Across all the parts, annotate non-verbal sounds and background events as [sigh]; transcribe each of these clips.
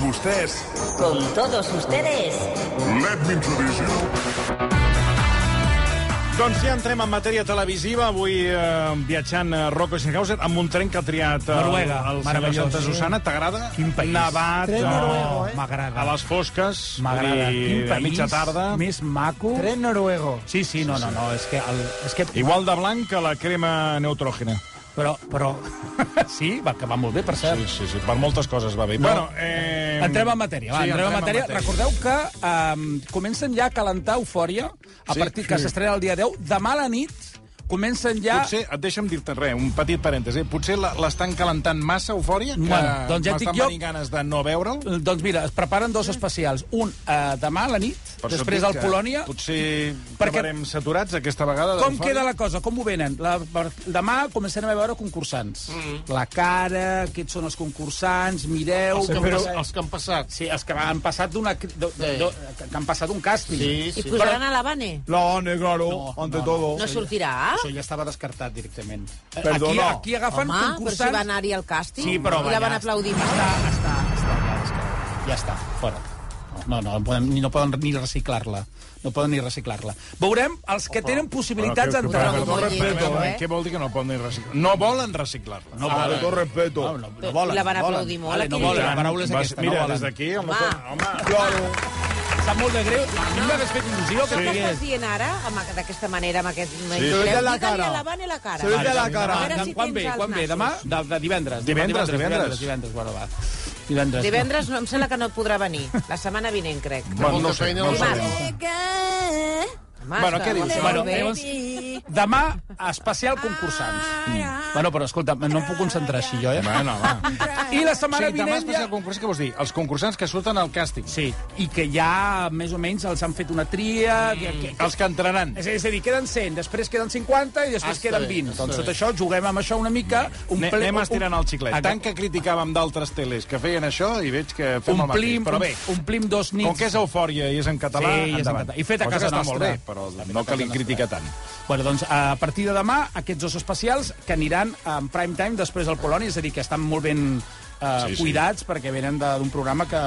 vostès. Con todos ustedes. Let me introduce you. Doncs ja entrem en matèria televisiva. Avui eh, viatjant a Rocco Schenhauser amb un tren que ha triat eh, Noruega, el, el senyor meravellós. Santa Susana. T'agrada? Quin país. Nevat, eh, Tren noruego, eh? M'agrada. a les fosques, M'agrada. i Quin a país mitja tarda. més maco. Tren noruego. Sí, sí, no, no, no, és que... El, és que... Igual de blanc que la crema neutrògena. Però, però... [laughs] sí, va, que va molt bé, per cert. Sí, sí, sí, per moltes coses va bé. No. Bueno, eh... Entrem en matèria, va, sí, sí, entrem en matèria. Recordeu que um, comencen ja a calentar eufòria, a Sí, sí, partir que sí. s'estrena el dia 10. Demà a la nit comencen ja... Potser, et deixa'm dir-te res, un petit parèntesi. Potser la- l'estan calentant massa, eufòria, que Bueno, doncs ja et dic m'estan jo- venint ganes de no veure'l. Eh, Doncs mira, es preparen dos especials. Un eh, demà a la nit, Per això et després dic al que Polònia. Potser Perquè- acabarem saturats aquesta vegada. Com Doncs d'eufòria. queda la cosa? Com ho venen? La, per- demà començarem a veure concursants. Mm. La cara, aquests són els concursants, mireu... Els que, però- però... els que han passat. Sí, els que han passat d'una... cri- do- Sí. do- que han passat un càsting. Sí, ¿Y sí. pusieron a la Bane? No, no, claro, No, ante no, todo. ¿No sortirá? Això ja estava descartat directament. Eh, Perdona. Aquí, aquí agafen Home, però si concursants... va anar-hi al càsting Sí, però i la va, van ja aplaudir està, molt. Està, està, està, ja, està, ja està, fora. No, no, no podem, ni- no poden ni reciclar-la. No poden ni reciclar-la. Veurem els que tenen possibilitats Però, Ho però, d'entrar. però, trobo molt però, lleig, però, eh? Què vol dir que no poden reciclar? No volen reciclar-la. No Con todo respeto. No, no, no Però volen, la van no volen. aplaudir molt, Vale, no aquí. volen, Tant, la paraula és Va, aquesta, mira, no volen. des d'aquí... el Home. nostre- Home. Claro. Sap molt de greu, a mi m'hagués fet il·lusió que Què estàs estigués. dient ara, amb, aqu- d'aquesta manera, amb aquest... Sí. Se ve de la cara. a la Bane la cara. Se ve de la A cara. veure si quan tens ve, els quan ve? nassos. Demà? De, de divendres. Divendres, divendres. Divendres, divendres, bueno, va. Divendres. Divendres no, em sembla que no podrà venir. La setmana vinent, crec. Bueno, no ho Molta sé, feina no ho al sabem. Home, Bueno, és què que dius? molt Bueno, eh? bé. llavors, demà, especial concursants. Ah, Mm. Bueno, però escolta, no em puc concentrar així, jo, eh? Bueno, home. I la setmana Sí, demà vinent... es passa el concurs, què vols dir? Els concursants que surten al càsting. Sí, i que ja més o menys els han fet una tria... Mm. Que, que, Els que entraran. és, és a dir, queden 100, després queden 50 i després Està queden bé, 20. està Doncs tot bé. això, juguem amb això una mica... Un Ne- Anem estirant el xiclet. Exacte. Tant que criticàvem d'altres teles que feien això i veig que fem el mateix. Omplim, Però bé, omplim dos nits. com que és eufòria i és en català, Sí, i és en endavant. català. I fet a Cosa casa eh? que està molt nostra. bé, però no que li critica tant. Bueno, doncs, a partir de demà, aquests dos especials que aniran en prime time després al Polònia, és a dir, que estan molt ben eh, Sí, sí, sí. cuidats perquè venen de- d'un programa que,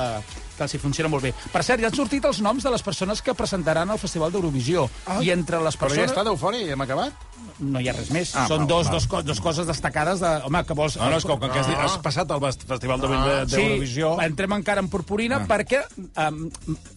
que els hi funciona molt bé. Per cert, ja han sortit els noms de les persones que presentaran el Festival d'Eurovisió. Ah, I entre les Però ja persones... està d'eufòria i hem acabat? No hi ha res més. Ah, Ah, Són val, dos, val. dos, co- dos coses destacades de... Home, que vols... eh, No, no, és com que has, dit- has passat el Festival d'Eurovisió. Ah, Sí, entrem encara en purpurina ah. perquè um,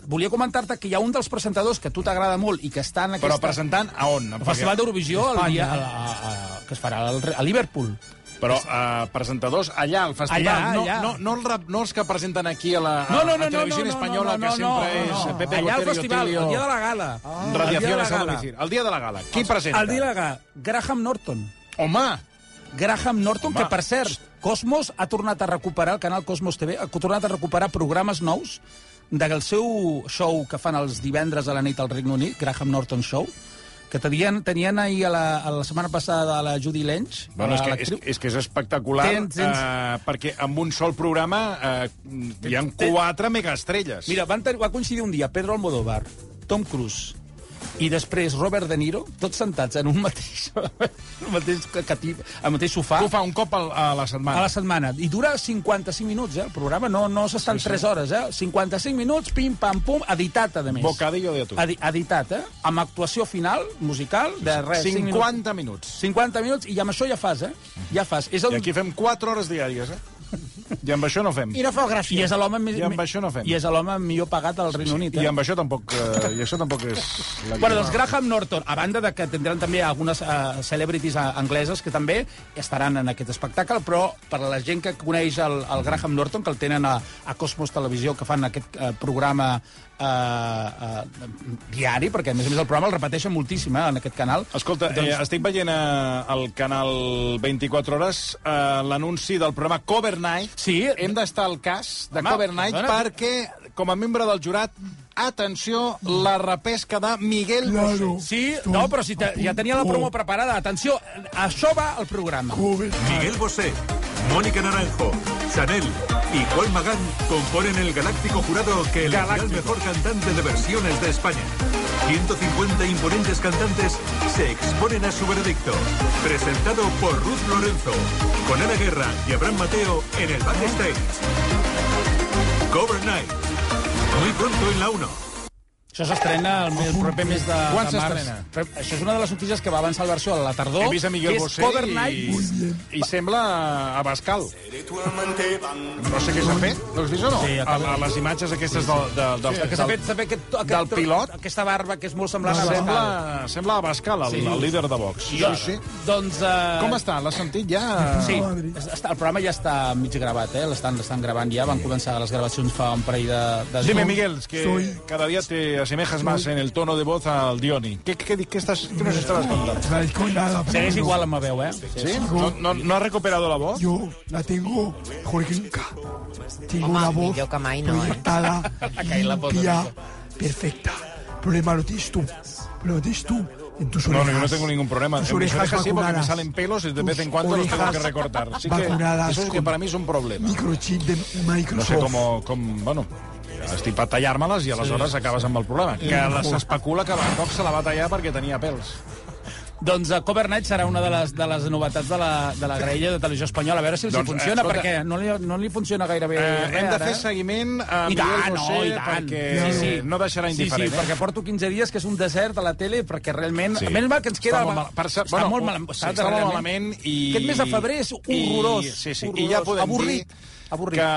volia comentar-te que hi ha un dels presentadors que a tu t'agrada molt i que està en Però aquesta... presentant a on? El Festival d'Eurovisió el eh? dia a, a, a, que es farà al, a Liverpool. Però uh, presentadors allà, al festival. Allà, no, allà. No, no, el rap, no els que presenten aquí a la, a, Ah, a Televisió Espanyola, que sempre és Pepe Allà al Botero i festival, Otilio. el dia de la gala. Ah. Radiació de Sado Vicir. El dia de la gala. Qui presenta? El dia de la gala, Graham Norton. Home! Graham Norton, Home. Home. que per cert, Cosmos ha tornat a recuperar, el canal Cosmos TV, ha tornat a recuperar programes nous del seu show que fan els divendres a la nit al Regne Unit, Graham Norton Show, que tenien, tenien ahir a la, a la setmana passada a la Judy Lench. Bueno, a és, que, és, l'actriu. és que és espectacular, Tens- tens- eh, perquè amb un sol programa eh, hi ha quatre megaestrelles. Mira, van tenir, va coincidir un dia Pedro Almodóvar, Tom Cruise i després Robert De Niro, tots sentats en un mateix, [laughs] en un mateix catip, al mateix sofà, tu fa un cop al, a la setmana. a la setmana. I dura 55 minuts, eh, el programa. No, no s'estan sí, 3 hores, eh? 55 minuts, pim, pam, pum, editat, a més. Bocadillo de tu. Edi editat, eh? Amb actuació final, musical, de res. cinc minuts. 50 minuts. 50 minuts, i amb això ja fas, eh? Ja fas. És el, I aquí fem 4 hores diàries, eh? I amb això no fem. no fa gràcia. I és l'home més... I amb això no fem. I és l'home millor pagat al Regne Unit, eh? I amb això tampoc, eh, i això tampoc és... La Bueno, doncs Graham Norton, a banda de que tindran també algunes uh, celebrities eh, angleses que també estaran en aquest espectacle, però per a la gent que coneix el, el Graham Norton, que el tenen a, a Cosmos Televisió, que fan aquest uh, programa uh, uh, diari, perquè a més a més el programa el repeteixen moltíssim eh, en aquest canal. Escolta, doncs... eh, estic veient eh, al canal 24 Hores eh, l'anunci del programa Cover Night. Sí. Hem d'estar al cas de Home, Cover Night perdona. perquè, com a membre del jurat, atenció, la repesca de Miguel Bosé. Sí, no, però si te, ja tenia la promo preparada. Atenció, això va al programa. Miguel Bosé, Mónica Naranjo, Chanel y Paul Magán componen el galáctico jurado que elegirá al mejor cantante de versiones de España. 150 imponentes cantantes se exponen a su veredicto. Presentado por Ruth Lorenzo, con Ana Guerra y Abraham Mateo en el backstage. Cover Night. Muy pronto en la 1. Això s'estrena el, el proper mes de, Quan de març. s'estrena? Però Això és una de les notícies que va avançar el versió a la He tardor. vist a Miguel que és Bosé Cover i, Night. i sembla Abascal. No sé què s'ha fet, no has vist o no? Sí, a, acaba- a les imatges aquestes del, del, del, Que s'ha del, fet, s'ha fet aquest, aquest, del pilot? Aquesta barba que és molt semblant a sembla, Abascal. sembla Abascal, el, Sí. el líder de Vox. Jo- Doncs... eh, Com està? L'has sentit ja? Sí, es- està, el programa ja està mig gravat, eh? L'estan l'estan gravant ja, van començar les gravacions fa un parell de... de Dime, dies. Miguel, es que Soy- cada día te asemejas más en el tono de voz al Dioni. ¿Qué, qué, qué estás, qué nos estabas contando? La nada, Segueix igual amb la veu, eh? Sí. ¿Sí? ¿No, no, no has recuperado la voz? Yo la tengo mejor que nunca. Tengo Home, una voz millor que mai no, eh? [laughs] proyectada, caí la foto, limpia, perfecta. Problema lo tienes tú. Problema lo tienes tú en tus No, orejas. no, yo no tengo ningún problema. Tus En mis orejas orejas sí, porque me vacunadas. salen pelos y de vez en Tus cuando los tengo que orejas recortar. Así que vacunadas eso es que con para mí es un problema. Microchip de Microsoft. No sé com... com bueno, estic per tallar-me-les i aleshores acabes amb el problema. Que s'especula que Van Gogh se la va tallar perquè tenia pèls. Doncs uh, Cover Night serà una de les, de les novetats de la, de la graella de televisió espanyola. A veure si els Doncs, doncs, funciona, escolta- perquè no li, no li funciona gaire bé. Eh, hem de ara, fer eh? seguiment a I Miguel tant, no, Bosé i tant. perquè Sí, sí. no deixarà indiferent. Sí, sí, eh? perquè porto 15 dies que és un desert a la tele perquè realment... Sí. Sí. Menys mal que ens queda... Està molt, mal, per, està molt malament. Està, està molt malament i... Aquest mes de febrer és horrorós. I, sí, sí, horrorós. i ja podem Avorrit. dir Avorrit. que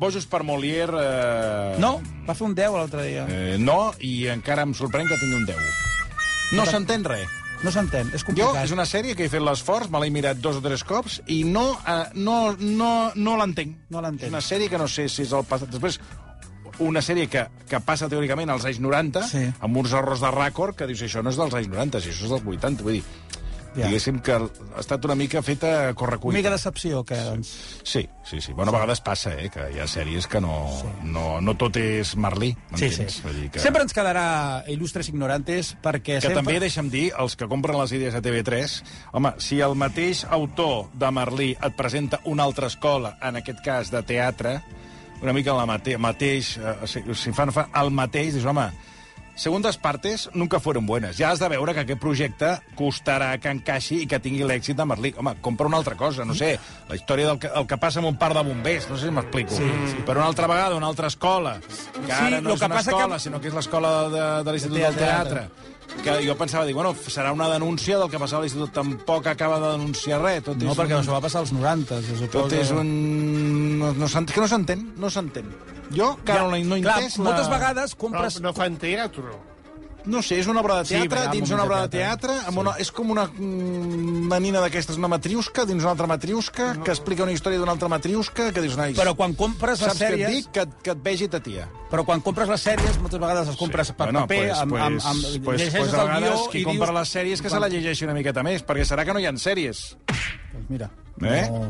Bojos per Molière... Eh, No, va fer un 10 l'altre dia. Eh, no, i encara em sorprèn que tingui un 10. No s'entén res. No s'entén, és Jo, complicat. és una sèrie que he fet l'esforç, me l'he mirat dos o tres cops, i no, eh, no, no, no l'entenc. No l'entenc. És una sèrie que no sé si és el passat. Després, una sèrie que, que passa teòricament als anys 90, Sí. amb uns errors de ràcord, que dius, això no és dels anys 90, si això és dels 80. Vull dir, Ja. ja. diguéssim que ha estat una mica feta a Una correcuita. mica decepció, que, doncs. Sí, sí, sí. Bueno, a vegades passa, eh, que hi ha sèries que no, no, no tot és Marlí, Sí, m'entens? sí. Vull dir Que... Sempre ens quedarà il·lustres ignorantes que perquè... sempre... també, deixa'm dir, els que compren les idees a TV3, home, si el mateix autor de Merlí et presenta una altra escola, en aquest cas de teatre, una mica la mate mateix, eh, si, si fan, fan el mateix, dius, home, segundes partes nunca fueron buenas. Ja has de veure que aquest projecte costarà que encaixi i que tingui l'èxit de Merlí. Home, compra una altra cosa, no sé, la història del que, el que passa amb un par de bombers, no sé si m'explico. Sí, sí. Però una altra vegada, una altra escola, que ara lo no és que una passa que- escola, sinó que és l'escola de, de l'Institut del Teatre. Que jo pensava, dic, bueno, serà una denúncia del que passava a l'Institut. Tampoc acaba de denunciar res. Tot No, és perquè un... això va passar als 90, se suposa. Tot és un... No, no s'ent- que no s'entén, no s'entén. Jo, que ja, no, he- no he Clar, entès... la- moltes vegades compres... No, no fan teatro. No sé, és una obra de Sí, teatre, va, dins un una obra de moment de teatre. teatre, amb una, és com una, mm, una nina d'aquestes, una matriusca, dins una altra matriusca, que explica una història d'una altra matriusca, que dius, nois, Però quan compres les saps què et sèries... dic? Que, et- que et vegi ta tia. Però quan compres les sèries, moltes vegades les compres Sí, per bueno, paper, pues, amb, amb, amb, pues, pues, llegeixes pues, a el guió vegades i qui dius... compra les sèries que se la llegeixi una miqueta més, perquè serà que no hi ha sèries. Doncs mira, Eh? no,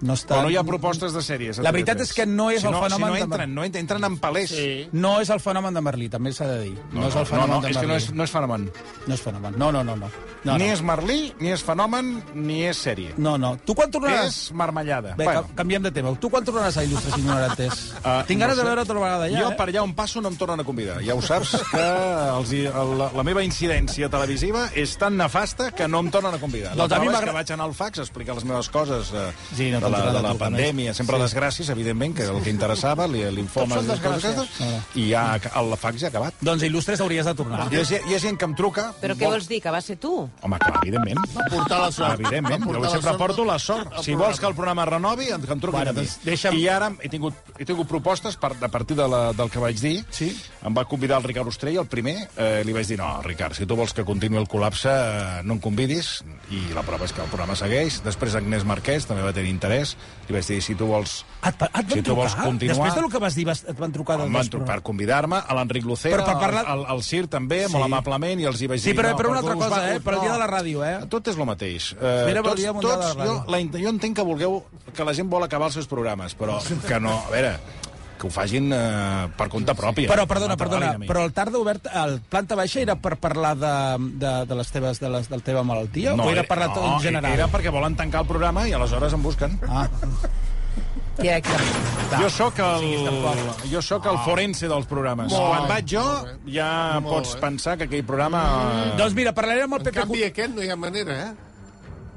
no està... O no hi ha propostes de sèries. a La veritat TV3. és que no és si el fenomen Si de- no entren, no entren, entren en palès. Sí. No és el fenomen de Merlí, també s'ha de dir. No, és el no, fenomen no, de és que Merlí. no és, no és fenomen. no és fenomen. No, no, no. no. No, no ni no. és Merlí, ni és fenomen, ni és sèrie. No, no. Tu quan tornaràs... És marmellada. Bé, bueno. canviem de tema. Tu quan tornaràs a Il·lustres Ignorantes? Ah, Uh, Tinc ganes no de sé. veure't una vegada ja, jo eh? per allà on passo no em tornen a convidar. Ja ho saps que els, hi- la, la meva incidència televisiva és tan nefasta que no em tornen a convidar. La Doncs a mi prova és m'agra- que vaig anar al fax a explicar les meves coses eh, Sí, no de la, t'han de la trucat, pandèmia. Sempre Sí. desgràcies, evidentment, que el que interessava, li- l'informe... Tots són Ah. les coses desgràcies. aquestes, I ja el fax ja ha acabat. Doncs a Il·lustres hauries de tornar. Hi ha, ge- hi ha gent que em truca... Però què vols dir, que va ser tu? Home, clar, evidentment. Portar la sort. Evidentment, Va portar jo la sempre sort porto del- la sort. del Si programa. vols que el programa es renovi, em, que em truquin Bueno, a mi. doncs deixa'm- I ara he tingut, he tingut propostes per, a partir de la, del que vaig dir. Sí. Em va convidar el Ricard Ostrell, el primer. Eh, li vaig dir, no, Ricard, si tu vols que continuï el col·lapse, eh, no em convidis. I la prova és que el programa segueix. Després Agnès Marquès també va tenir interès. Li vaig dir, si tu vols... Et, pa- et van si tu trucar? vols continuar... Després del que vas dir, vas, et van trucar... Em del van despro- trucar per convidar-me, a l'Enric Lucera, Però per parlar- al, al, al Cir també, Sí. molt amablement, i els hi vaig Sí, dir... però- no, però una altra us cosa, eh, per al dia de la ràdio, eh. Tot és el mateix. Eh, Espera per al tots, dia mundial de la tots, jo, ràdio. la, int- jo entenc que vulgueu que la gent vol acabar els seus programes, però que no... A veure, que ho fagin eh, per compte pròpia. Però, perdona, No perdona, t'avalin a mi. però el tarda obert, el planta baixa era per parlar de, de, de les teves, de les, del teva malaltia? o era per la no, en general? Era perquè volen tancar el programa i aleshores em busquen. Ah, Directament. Jo sóc el, jo sóc Ah. el forense dels programes. Quan vaig jo, ja pots pensar que aquell programa... doncs mira, parlaré amb el En Pepe... canvi, aquest no hi ha manera, eh?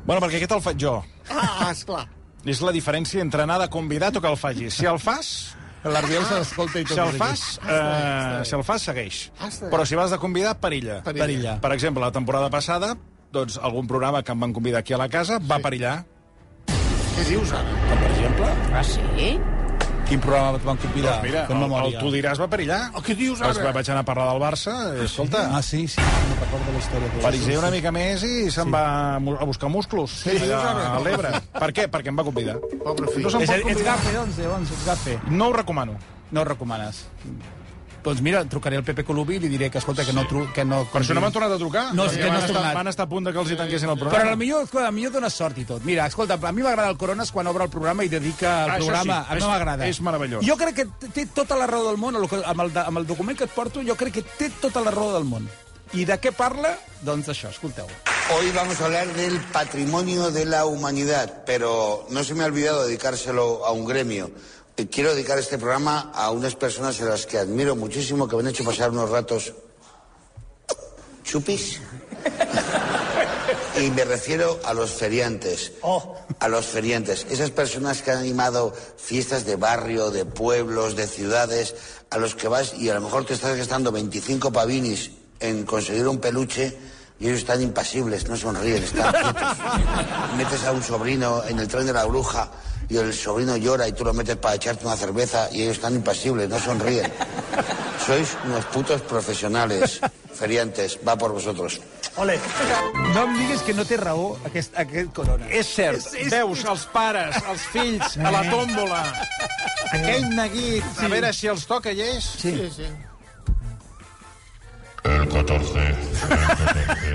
Bueno, perquè aquest el faig jo. Ah, esclar. És la diferència entre anar de convidat o que el facis. Si el fas, L'Arbiol se l'escolta i tot. Si el és aquí. fas, eh, si el fas segueix. Hasta Però si vas de convidar, perilla. Ah, Perilla. Perilla. Per exemple, la temporada passada, doncs, algun programa que em van convidar aquí a la casa va perillar. Què dius ara? Com, per exemple, Ah, sí? quin programa et van convidar? Doncs mira, Fem el, el memòria. Tu diràs va perillar. Oh, què dius Vas, ara? vaig anar a parlar del Barça, i, escolta, Ah, sí, sí, no recordo la història. però- Pariseu una mica més i se'n sí. va mu- a buscar musclos sí, allà, a l'Ebre. Per què? Perquè em va convidar. Pobre fill. No se'n És, pot ets convidar. gafe, doncs, llavors, ets gafe. No ho recomano. No ho recomanes. Doncs mira, trucaré al Pepe Colubi i li diré que, escolta, que no... Tru que no Per això no m'han tornat a trucar. No, és Perquè que no van has estar- tornat. Van estar a punt de que els hi tanquessin el Però programa. a millor, a millor dona sort i tot. Mira, escolta, a mi m'agrada el Corona és quan obre el programa i dedica el Ah, això programa. sí, a mi és- m'agrada. és meravellós. Jo crec que t- té tota la raó del món, el que- amb el, de- amb el document que et porto, jo crec que té tota la raó del món. I de què parla? Doncs això, escolteu. Hoy vamos a hablar del patrimonio de la humanidad, pero no se me ha olvidado dedicárselo a un gremio. Eh, Quiero dedicar este programa a unas personas a las que admiro muchísimo, que me han hecho pasar unos ratos chupis. Y me refiero a los feriantes. A los feriantes. Esas personas que han animado fiestas de barrio, de pueblos, de ciudades, a los que vas y a lo mejor te estás gastando 25 pavinis en conseguir un peluche y ellos están impasibles, no sonríen, están quietos. Metes a un sobrino en el tren de la bruja y el sobrino llora y tú lo metes para echarte una cerveza y ellos están impasibles, no sonríen. Sois unos putos profesionales. Feriantes, va por vosotros. No em diguis que no té raó aquest, aquest Corona. És cert, veus els pares, els fills, a la tòmbola, aquell neguit, a veure si els toca lleis. Sí. El 14, el 14,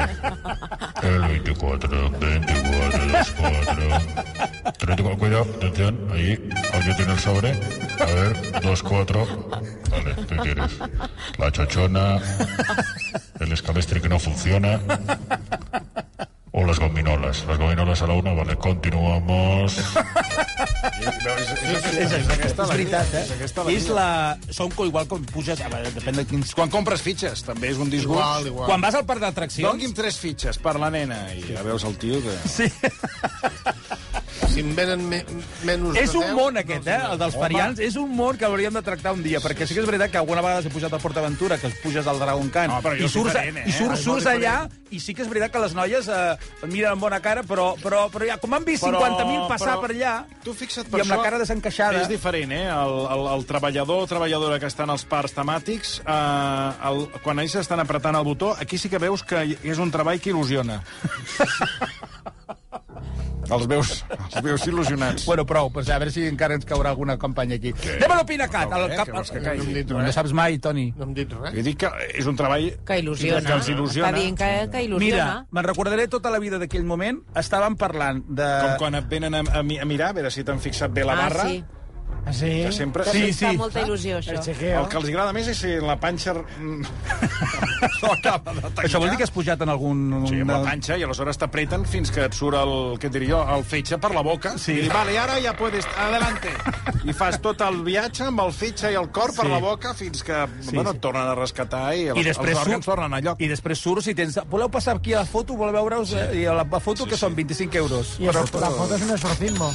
el 24, 24, 24, 34, cuidado, atención, ahí, alguien tiene el sobre, a ver, 2, 4, vale, ¿qué quieres? La chochona, el escalestri que no funciona, o las gominolas, las gominolas a la una, vale, continuamos, aquesta és la veritat, vida, eh? és aquesta la És vida. la... Són co- igual com puges... A veure, depèn de quins... Quan compres fitxes, també és un disgust. Igual, igual. Quan vas al parc d'atraccions... Dongui'm tres fitxes per la nena. I ja veus el tio que... Sí. Si en venen me menys És de un 10, món, aquest, no eh? El dels farians. És un món que hauríem de tractar un dia, perquè sí que és veritat que alguna vegada s'ha pujat a PortAventura, que es puges al Dragon Khan, No, però jo i surts, a- diferent, eh? i surts, Molt surts allà, i sí que és veritat que les noies eh, miren amb bona cara, però, però, però ja, com han vist 50.000 passar per allà... Tu fixa't, i per amb la això cara desencaixada. És diferent, eh? El, el, el treballador o treballadora que estan als parcs temàtics, eh, el, quan ells estan apretant el botó, aquí sí que veus que hi- és un treball que [laughs] il·lusiona. els, veus, els veus il·lusionats. Bueno, prou, pues a veure si encara ens caurà alguna campanya aquí. Anem a l'Opinacat. No, al eh, cap- que vols que em caigui? dit No, res. no saps mai, Toni. No em dit res. Jo dic que és un treball Que il·lusiona. Que els il·lusiona. Està dient que, que il·lusiona. Mira, me'n recordaré tota la vida d'aquell moment. Estàvem parlant de... Com quan et venen a, a, mi- a mirar, a veure si t'han fixat bé la barra. Ah, sí. Ah, sí? Que sempre... [laughs] Sí, sí. Fa molta il·lusió, això. El que els agrada més és si la panxa... [laughs] mm, no acaba de tancar. Això vol dir que has pujat en algun... Sí, amb la una- panxa, i aleshores t'apreten fins que et surt el, què et diria jo, el fetge per la boca. Sí. I dius, vale, ara ja puedes, adelante. I fas tot el viatge amb el fetge i el cor sí. per Sí. la boca fins que, sí, bueno, et tornen a rescatar i, els, I després, els òrgans surt, tornen a lloc. I després surts i tens... Voleu passar aquí a la foto? Voleu veure-us? Sí. I a la foto, sí, que són 25 euros. I això, la foto és un exorcismo.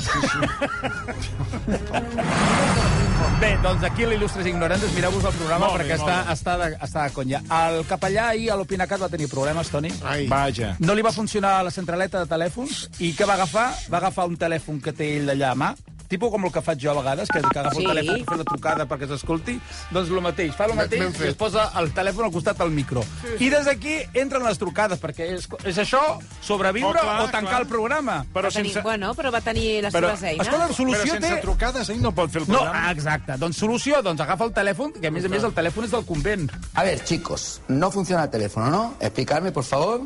Bé, doncs aquí l'Il·lustres Ignorantes, mireu-vos el programa Molt bé, perquè molt està, bé. està, de, està de conya. El capellà ahir a l'Opinacat va tenir problemes, Toni. Ai, Vaja. No li va funcionar la centraleta de telèfons i què va agafar? Va agafar un telèfon que té ell allà a mà, tipus com el que faig jo a vegades, que, que agafo Sí. el telèfon per fer una trucada perquè s'escolti, doncs el mateix, fa el mateix ben fet. i es posa el telèfon al costat del micro. I des d'aquí entren les trucades, perquè és, és això, sobreviure Oh, clar, o tancar clar. el programa. Però, Però va tenir, sense... sense... bueno, però va tenir les Però- seves eines. Escolta, la Però solució sense té... trucades ell no pot fer el No, programa. ah, exacte. Doncs solució, doncs agafa el telèfon, que a més a més el telèfon és del convent. A ver, chicos, no funciona el teléfono, ¿no? Explicarme, por favor.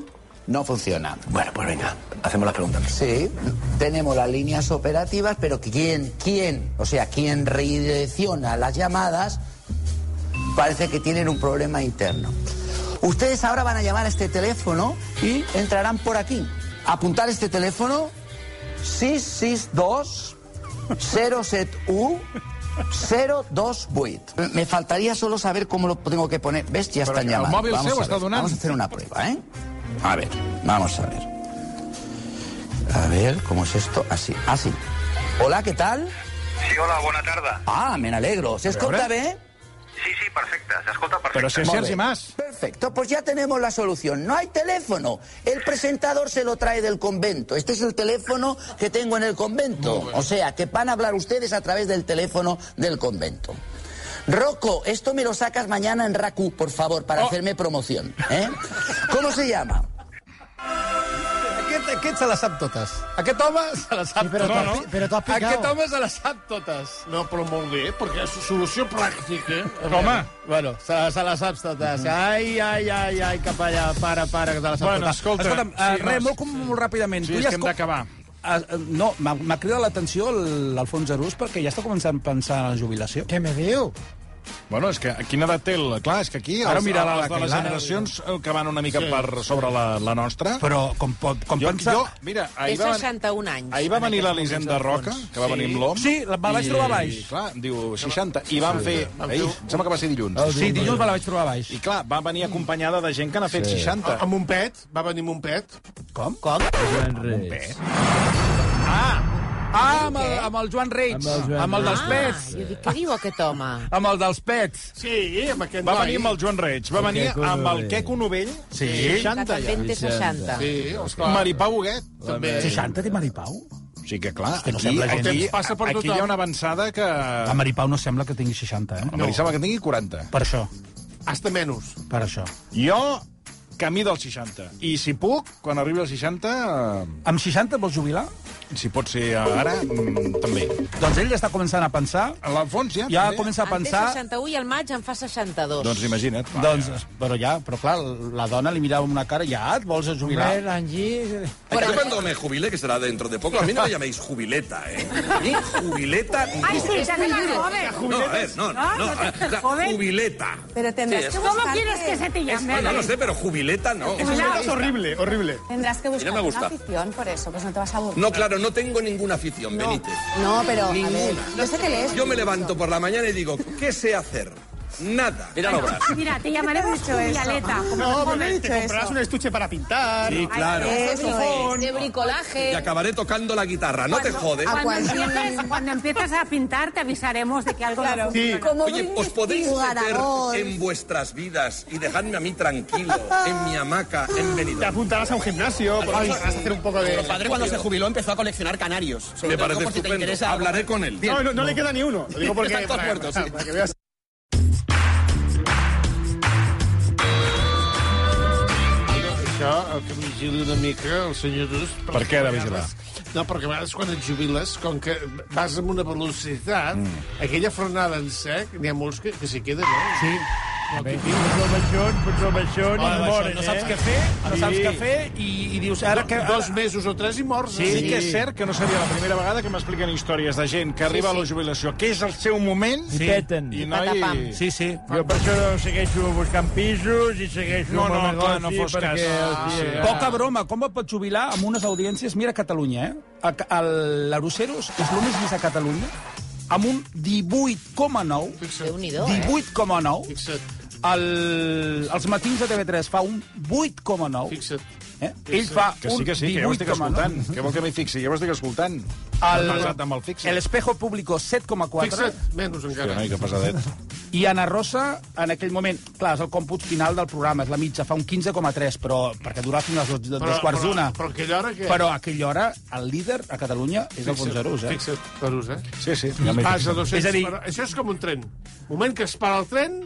No funciona. Bueno, pues venga, hacemos las preguntas. Sí, tenemos las líneas operativas, pero ¿quién, quién, o sea, quién redirecciona las llamadas? Parece que tienen un problema interno. Ustedes ahora van a llamar a este teléfono y entrarán por aquí. Apuntar este teléfono 662 071 028. Me faltaría solo saber cómo lo tengo que poner. ¿Ves? Ya están el llamando. móvil Vamos seu a está ver, donant. vamos a hacer una prueba, ¿eh? A ver, vamos a ver. A ver, ¿cómo es esto? Así, así. Hola, ¿qué tal? Sí, hola, bona tarda. Ah, me n'alegro. S'escolta bé? Sí, sí, perfecte, s'escolta ah, perfecte. Molt bien. Perfecto, pues ya tenemos la solución. No hay teléfono. El presentador se lo trae del convento. Este es el teléfono que tengo en el convento. O sea, que van a hablar ustedes a través del teléfono del convento. Rocco, esto me lo sacas mañana en Raku, por favor, para hacerme promoción. ¿eh? ¿Cómo se llama? Aquest, aquest se la sap totes. Aquest home se la sap sí, però totes. t'has- però t'has picat. Aquest home se la sap totes. No, però molt bé, perquè és solució pràctica. Home. Mhm. Bueno, se, la- se la saps totes. Ai, ai, ai, ai, cap allà. Para, para, que te la saps Bueno, totes. escolta, Escolta'm, sí, eh, res, vas. molt, com, molt ràpidament. Sí, Tu és ja que hem escol- d'acabar. Ah, eh, No, m'ha m'ha cridat l'atenció el- l'Alfons Arús perquè ja està començant a pensar en la jubilació. Què me diu? Bueno, és que a quina edat té el... Clar, és que aquí Ara els, mira la- els de les clar. generacions eh, que van una mica Sí. sí. per sobre la, la nostra... Però com, pot, com jo, pensa- Jo, mira, ahir Té va, venir- 61 anys. ahir va en venir aquests l'Elisenda moments, Roca, Alfons. que va venir amb l'OM. Sí, la- me la vaig trobar a baix. I, clar, diu 60. I van Sí, fer... van fer Ahir, un- em sembla que va ser dilluns. Sí, dilluns me la vaig trobar a baix. I clar, va venir acompanyada de gent que n'ha fet Sí. 60. Amb un pet? Va venir amb un pet? Com? Com? Joan Reis. Ah, amb el, amb el Joan Ah. Reig, amb el, dels pets. Ah, jo dic, què diu aquest home? Amb el dels pets. Sí, amb aquest Va noi. venir amb el Joan Reig, va El venir Queco amb el Novell. Queco Novell, Sí. 60 Que també en té 60. Sí, esclar. Maripau Huguet, també. 60 té Maripau? Sí que clar, que no aquí, sembla aquí, gent. aquí, aquí hi ha una avançada que... A Maripau no sembla que tingui 60, eh? No. Em sembla que tingui 40. Per això, Hasta menos. per això. Jo, camí dels 60. I si puc, quan arribi als 60, Amb 60 et vols jubilar? eh, si pot ser ara, mm, també. Doncs ell ja està començant a pensar, L'Alfons ja, ja també. comença a En té pensar... 61 i al maig en fa 62. Doncs imagina't. Va, Doncs, però ja, però clar, la dona li mirava amb una cara, ja et vols jubilar? Hombre, Angie... Por Yo ahí. cuando me jubile, que será dentro de poco, a mí no me llaméis jubileta, ¿eh? A mí jubileta... no. No, a ver, no, Ah, no, no. a ver, o sea, jubileta. Pero tendrás Sí, que es- buscarte... ¿Cómo quieres que se te Bueno, no lo sé, pero jubileta no. horrible, horrible. Tendrás que buscar me gusta. una afición por eso, pues no te vas a aburrir. No, claro, no tengo ninguna afición, No. Benítez. No, pero, a ver, Ninguna. yo sé que lees Yo me mucho. levanto por la mañana y digo, ¿qué sé hacer? Nada. Mira obras. Mira, te llamaremos dicho eso? Julialeta. No, pero te comprarás un estuche para pintar. Sí, claro. Eso es. De bricolaje. Y acabaré tocando la guitarra, no te jodes. Cuando empieces, cuando empieces a pintar te avisaremos de que algo no funciona. Oye, ¿os podéis meter en vuestras vidas y dejarme a mí tranquilo, [laughs] en mi hamaca, en Te Benidorm? apuntarás a un gimnasio, por eso vas a hacer un poco de... Nuestro padre cuando se jubiló empezó a coleccionar canarios. Me Sobre todo parece por si te estupendo. interesa- Hablaré con él. No, no, no le queda ni uno. Lo digo porque... Están todos muertos, sí. para que veas... Això, el que em vigili una mica, el senyor Dus... Per què ha de vigilar? No, perquè a vegades quan et jubiles, com que vas amb una velocitat, mm. aquella frenada en sec, n'hi ha molts que, que s'hi queden, eh? Sí. Pots al baixón, pots al baixón i Home, mor, això, no saps què fer, no saps què fer, i, i dius, ara que... Dos mesos o tres i eh? morts. Sí, sí que és cert que no seria la primera vegada que m'expliquen històries de gent que arriba a la jubilació, que és el seu moment... I peten. I no hi... Sí, sí. Jo per això segueixo buscant pisos i segueixo No, amb el no, clar, no negoci fos cas. perquè, Ah, hòstia, sí. Poca broma, com et pots jubilar amb unes audiències? Mira Catalunya, eh? A Ca- el- L'Aruceros és l'home més vist a Catalunya amb un 18,9. Déu-n'hi-do, eh? 18,9. Fixa't, El, els matins de TV3 fa un 8,9. fixa't. Eh? Ell fa Que sí, que sí, que ja ho un estic 18,9. escoltant. Que vol que m'hi fixi, ja ho estic escoltant. El- El... Pesat amb el fixi. El El... Espejo Público, 7,4. Fixa't, menys Hòstia, encara. noi, que pesadet. I Ana Rosa, en aquell moment, clar, és el còmput final del programa, és la mitja, fa un 15,3, però perquè durà fins als dos, dos quarts d'una. Però, però aquella hora que... Però a aquella hora, el líder a Catalunya és el Arús, eh? Fixa't, Arús, eh? Sí, sí, ja m'hi Passa fixo. 200... És a dir- per- Això és com un tren. Moment que es para el tren...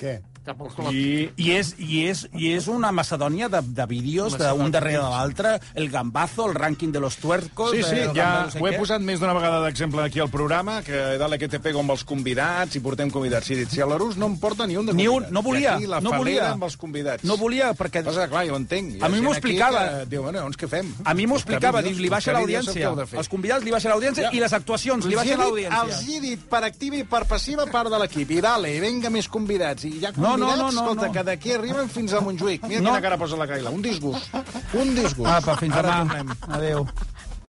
Què? Cap al col·lectiu. I... I és, i, és, I és una macedònia de, de vídeos d'un darrere de l'altre, el gambazo, el rànquing de los tuercos... Sí, sí, el gamba ja no sé ho he què. posat més d'una vegada d'exemple aquí al programa, que dale que te pego amb els convidats, i portem convidats. Si, si a l'Arús no em porta ni un de Ni convidat. un, no volia, I aquí la no falera volia. amb els convidats. No volia, perquè... Passa, que, clar, jo ho entenc. Hi ha A mi gent m'ho aquí explicava. que Diu, bueno, llavors què fem? A mi m'ho explicava, diu, li baixa Buscar vídeos, l'audiència. què heu de fer? Els convidats li baixa l'audiència Ja. i les actuacions li Els hi he baixa dit- Els l'audiència. he dit per activa i per passiva part de l'equip. I dale, i venga més convidats. I ja No, convidats, no, no, no, escolta, no. que d'aquí arriben fins a Montjuïc. Mira No. quina cara posa la Caila. Un disgust. Un disgust. Apa, fins Ara demà. tornem. Adéu.